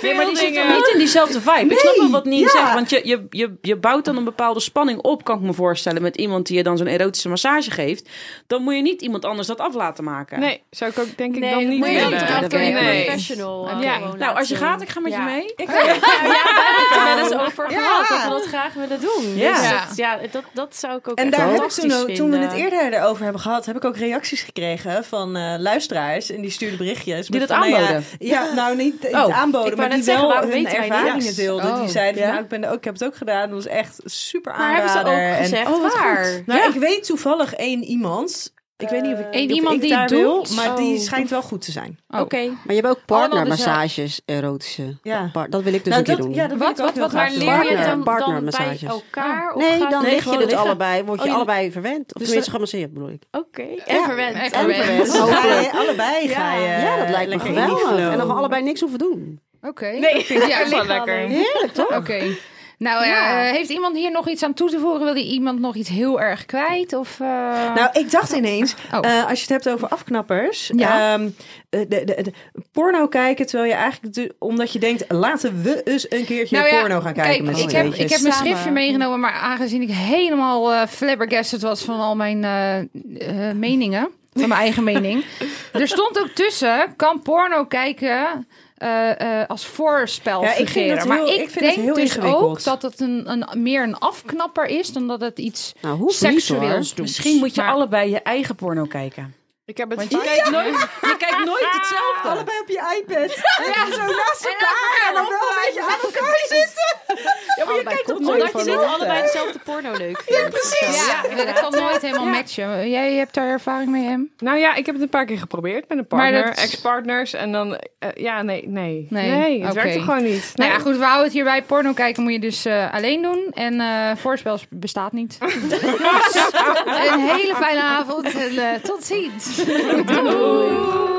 Speaker 7: Nee, maar die zit dan niet in diezelfde vibe. Ik snap wel wat Nien
Speaker 8: ja.
Speaker 7: zegt, want je, je, je, je bouwt dan een bepaalde spanning op, kan ik me voorstellen, met iemand die je dan zo'n erotische massage geeft. Dan moet je niet iemand anders dat af laten maken.
Speaker 4: Nee, zou ik ook denk ik
Speaker 6: Nee,
Speaker 4: dan niet
Speaker 6: moet je
Speaker 7: dan
Speaker 4: willen.
Speaker 7: toch
Speaker 6: dat
Speaker 7: kun
Speaker 6: kun
Speaker 7: je
Speaker 6: je
Speaker 4: nee.
Speaker 6: professional. eh,
Speaker 4: Ja.
Speaker 6: gewoon
Speaker 7: Nou, als je
Speaker 6: laten
Speaker 7: gaat, ik ga met
Speaker 6: Ja.
Speaker 7: je mee.
Speaker 6: Ik ja, ja, we hebben het er wel eens over gehad dat we dat graag willen doen.
Speaker 7: Ja.
Speaker 6: Dus het- ja, dat, dat zou ik ook
Speaker 8: En
Speaker 6: echt
Speaker 8: daar heb ik
Speaker 6: fantastisch
Speaker 8: toen, ook- toen we
Speaker 6: vinden.
Speaker 8: het eerder erover hebben gehad, heb ik ook reacties gekregen van eh, luisteraars. En die stuurden berichtjes.
Speaker 7: Die
Speaker 8: met
Speaker 7: dat
Speaker 8: van, nou ja,
Speaker 7: aanboden.
Speaker 8: Ja, nou niet het
Speaker 7: Oh.
Speaker 8: aanboden,
Speaker 6: Ik wou
Speaker 8: maar
Speaker 6: net
Speaker 8: die
Speaker 6: zeggen,
Speaker 8: wel
Speaker 6: waarom
Speaker 8: hun
Speaker 6: weten wij
Speaker 8: ervaringen
Speaker 6: niks?
Speaker 8: deelden.
Speaker 3: Oh.
Speaker 8: Die zeiden,
Speaker 7: Ja.
Speaker 8: nou ik, ben, er ook, ik heb het ook gedaan. Dat was echt super
Speaker 6: Maar hebben
Speaker 8: aanrader.
Speaker 6: ze
Speaker 8: En-
Speaker 6: ook gezegd
Speaker 7: Oh, wat
Speaker 6: waar?
Speaker 7: goed.
Speaker 8: Nou, ik weet toevallig één iemand. Ik weet niet of ik
Speaker 3: Eén
Speaker 8: of
Speaker 3: iemand
Speaker 8: ik
Speaker 3: die
Speaker 8: daar
Speaker 3: het doet?
Speaker 8: wil, maar die
Speaker 3: Oh.
Speaker 8: schijnt wel goed te zijn.
Speaker 3: Oké.
Speaker 2: Maar je hebt ook
Speaker 3: Allemaal
Speaker 2: partnermassages, erotische.
Speaker 8: dus, Ja.
Speaker 2: Par- dat wil ik dus
Speaker 8: Nou,
Speaker 2: een keer
Speaker 8: dat-
Speaker 2: doen.
Speaker 8: ja, dat wil
Speaker 3: Wat,
Speaker 8: ik ook
Speaker 3: wat,
Speaker 8: heel
Speaker 3: wat,
Speaker 8: graag
Speaker 3: waar
Speaker 8: doen.
Speaker 3: leer
Speaker 6: Leer je
Speaker 2: Partner-
Speaker 6: het dan, dan bij
Speaker 2: partnermassages. Oh.
Speaker 6: elkaar? Of
Speaker 2: Nee,
Speaker 6: gaat-
Speaker 2: dan
Speaker 8: Nee,
Speaker 2: lig je
Speaker 8: gewoon
Speaker 2: het
Speaker 8: liggen.
Speaker 2: allebei, word je
Speaker 6: Oh, je-
Speaker 2: allebei verwend. Of
Speaker 8: Dus
Speaker 2: tenminste gemasseerd bedoel ik.
Speaker 6: Oké.
Speaker 2: Ja.
Speaker 6: En verwend.
Speaker 3: En
Speaker 6: En
Speaker 3: verwend.
Speaker 6: verwend.
Speaker 8: Dus ga je
Speaker 2: Hopelijk.
Speaker 8: allebei ga je
Speaker 2: Ja, dat lijkt me
Speaker 8: lekker in die
Speaker 2: geweldig.
Speaker 8: flow.
Speaker 2: En dan we allebei niks hoeven doen.
Speaker 3: Oké. Nee, vind ik
Speaker 4: Dat is wel lekker.
Speaker 2: Heerlijk, toch?
Speaker 3: Oké. Nou, ja. eh, heeft iemand hier nog iets aan toe te voegen? Wil die iemand nog iets heel erg kwijt? Of, eh,
Speaker 8: Nou, ik dacht ineens,
Speaker 3: Oh.
Speaker 8: eh, als je het hebt over afknappers.
Speaker 3: Ja.
Speaker 8: ehm, eh, de, de, de- porno kijken, terwijl je eigenlijk, de- omdat je denkt, laten we eens een keertje
Speaker 3: Nou ja,
Speaker 8: porno gaan kijken.
Speaker 3: Kijk,
Speaker 8: met
Speaker 3: ik
Speaker 8: z'n
Speaker 3: heb,
Speaker 8: tweetjes.
Speaker 3: ik heb mijn
Speaker 6: Samen.
Speaker 3: schriftje meegenomen, maar aangezien ik helemaal eh flabbergasted was van al mijn eh, eh, meningen, van mijn eigen mening. Er stond ook tussen, kan porno kijken eh, eh, als voorspel
Speaker 8: Ja, ik vind
Speaker 3: fungeren.
Speaker 8: dat
Speaker 3: maar
Speaker 8: heel-
Speaker 3: ik,
Speaker 8: ik vind het
Speaker 3: denk
Speaker 8: heel
Speaker 3: dus ook
Speaker 8: ingewikkeld.
Speaker 3: dat het een, een, meer een afknapper is dan dat het iets
Speaker 2: Nou, hoeft niet,
Speaker 3: seksueels doet.
Speaker 7: Misschien moet je
Speaker 3: Maar-
Speaker 7: allebei je eigen porno kijken.
Speaker 4: Ik heb het
Speaker 7: Want je
Speaker 4: vaak-
Speaker 7: kijkt nooit, je kijkt nooit hetzelfde.
Speaker 8: Allebei op je iPad. Ja. Zo naast elkaar en dan wel een beetje aan elkaar zitten. Ja, maar je kijkt op nooit
Speaker 6: Omdat je niet
Speaker 8: hetzelfde.
Speaker 6: allebei dezelfde porno leuk vindt. Ja, precies.
Speaker 3: Ja, dat kan nooit helemaal matchen. Jij hebt daar ervaring mee, Em?
Speaker 4: Nou ja, ik heb het een paar keer geprobeerd met een
Speaker 3: Maar
Speaker 4: partner,
Speaker 3: dat-
Speaker 4: ex-partners. En dan, eh, ja, nee, nee.
Speaker 3: Nee,
Speaker 4: Nee, het
Speaker 3: oké.
Speaker 4: werkt toch gewoon niet.
Speaker 3: Nou ja,
Speaker 4: Nee.
Speaker 3: goed, we houden het hierbij. Porno kijken moet je dus eh, alleen doen. En eh voorspel bestaat niet. Dus, een hele fijne avond en eh, tot ziens. Doei.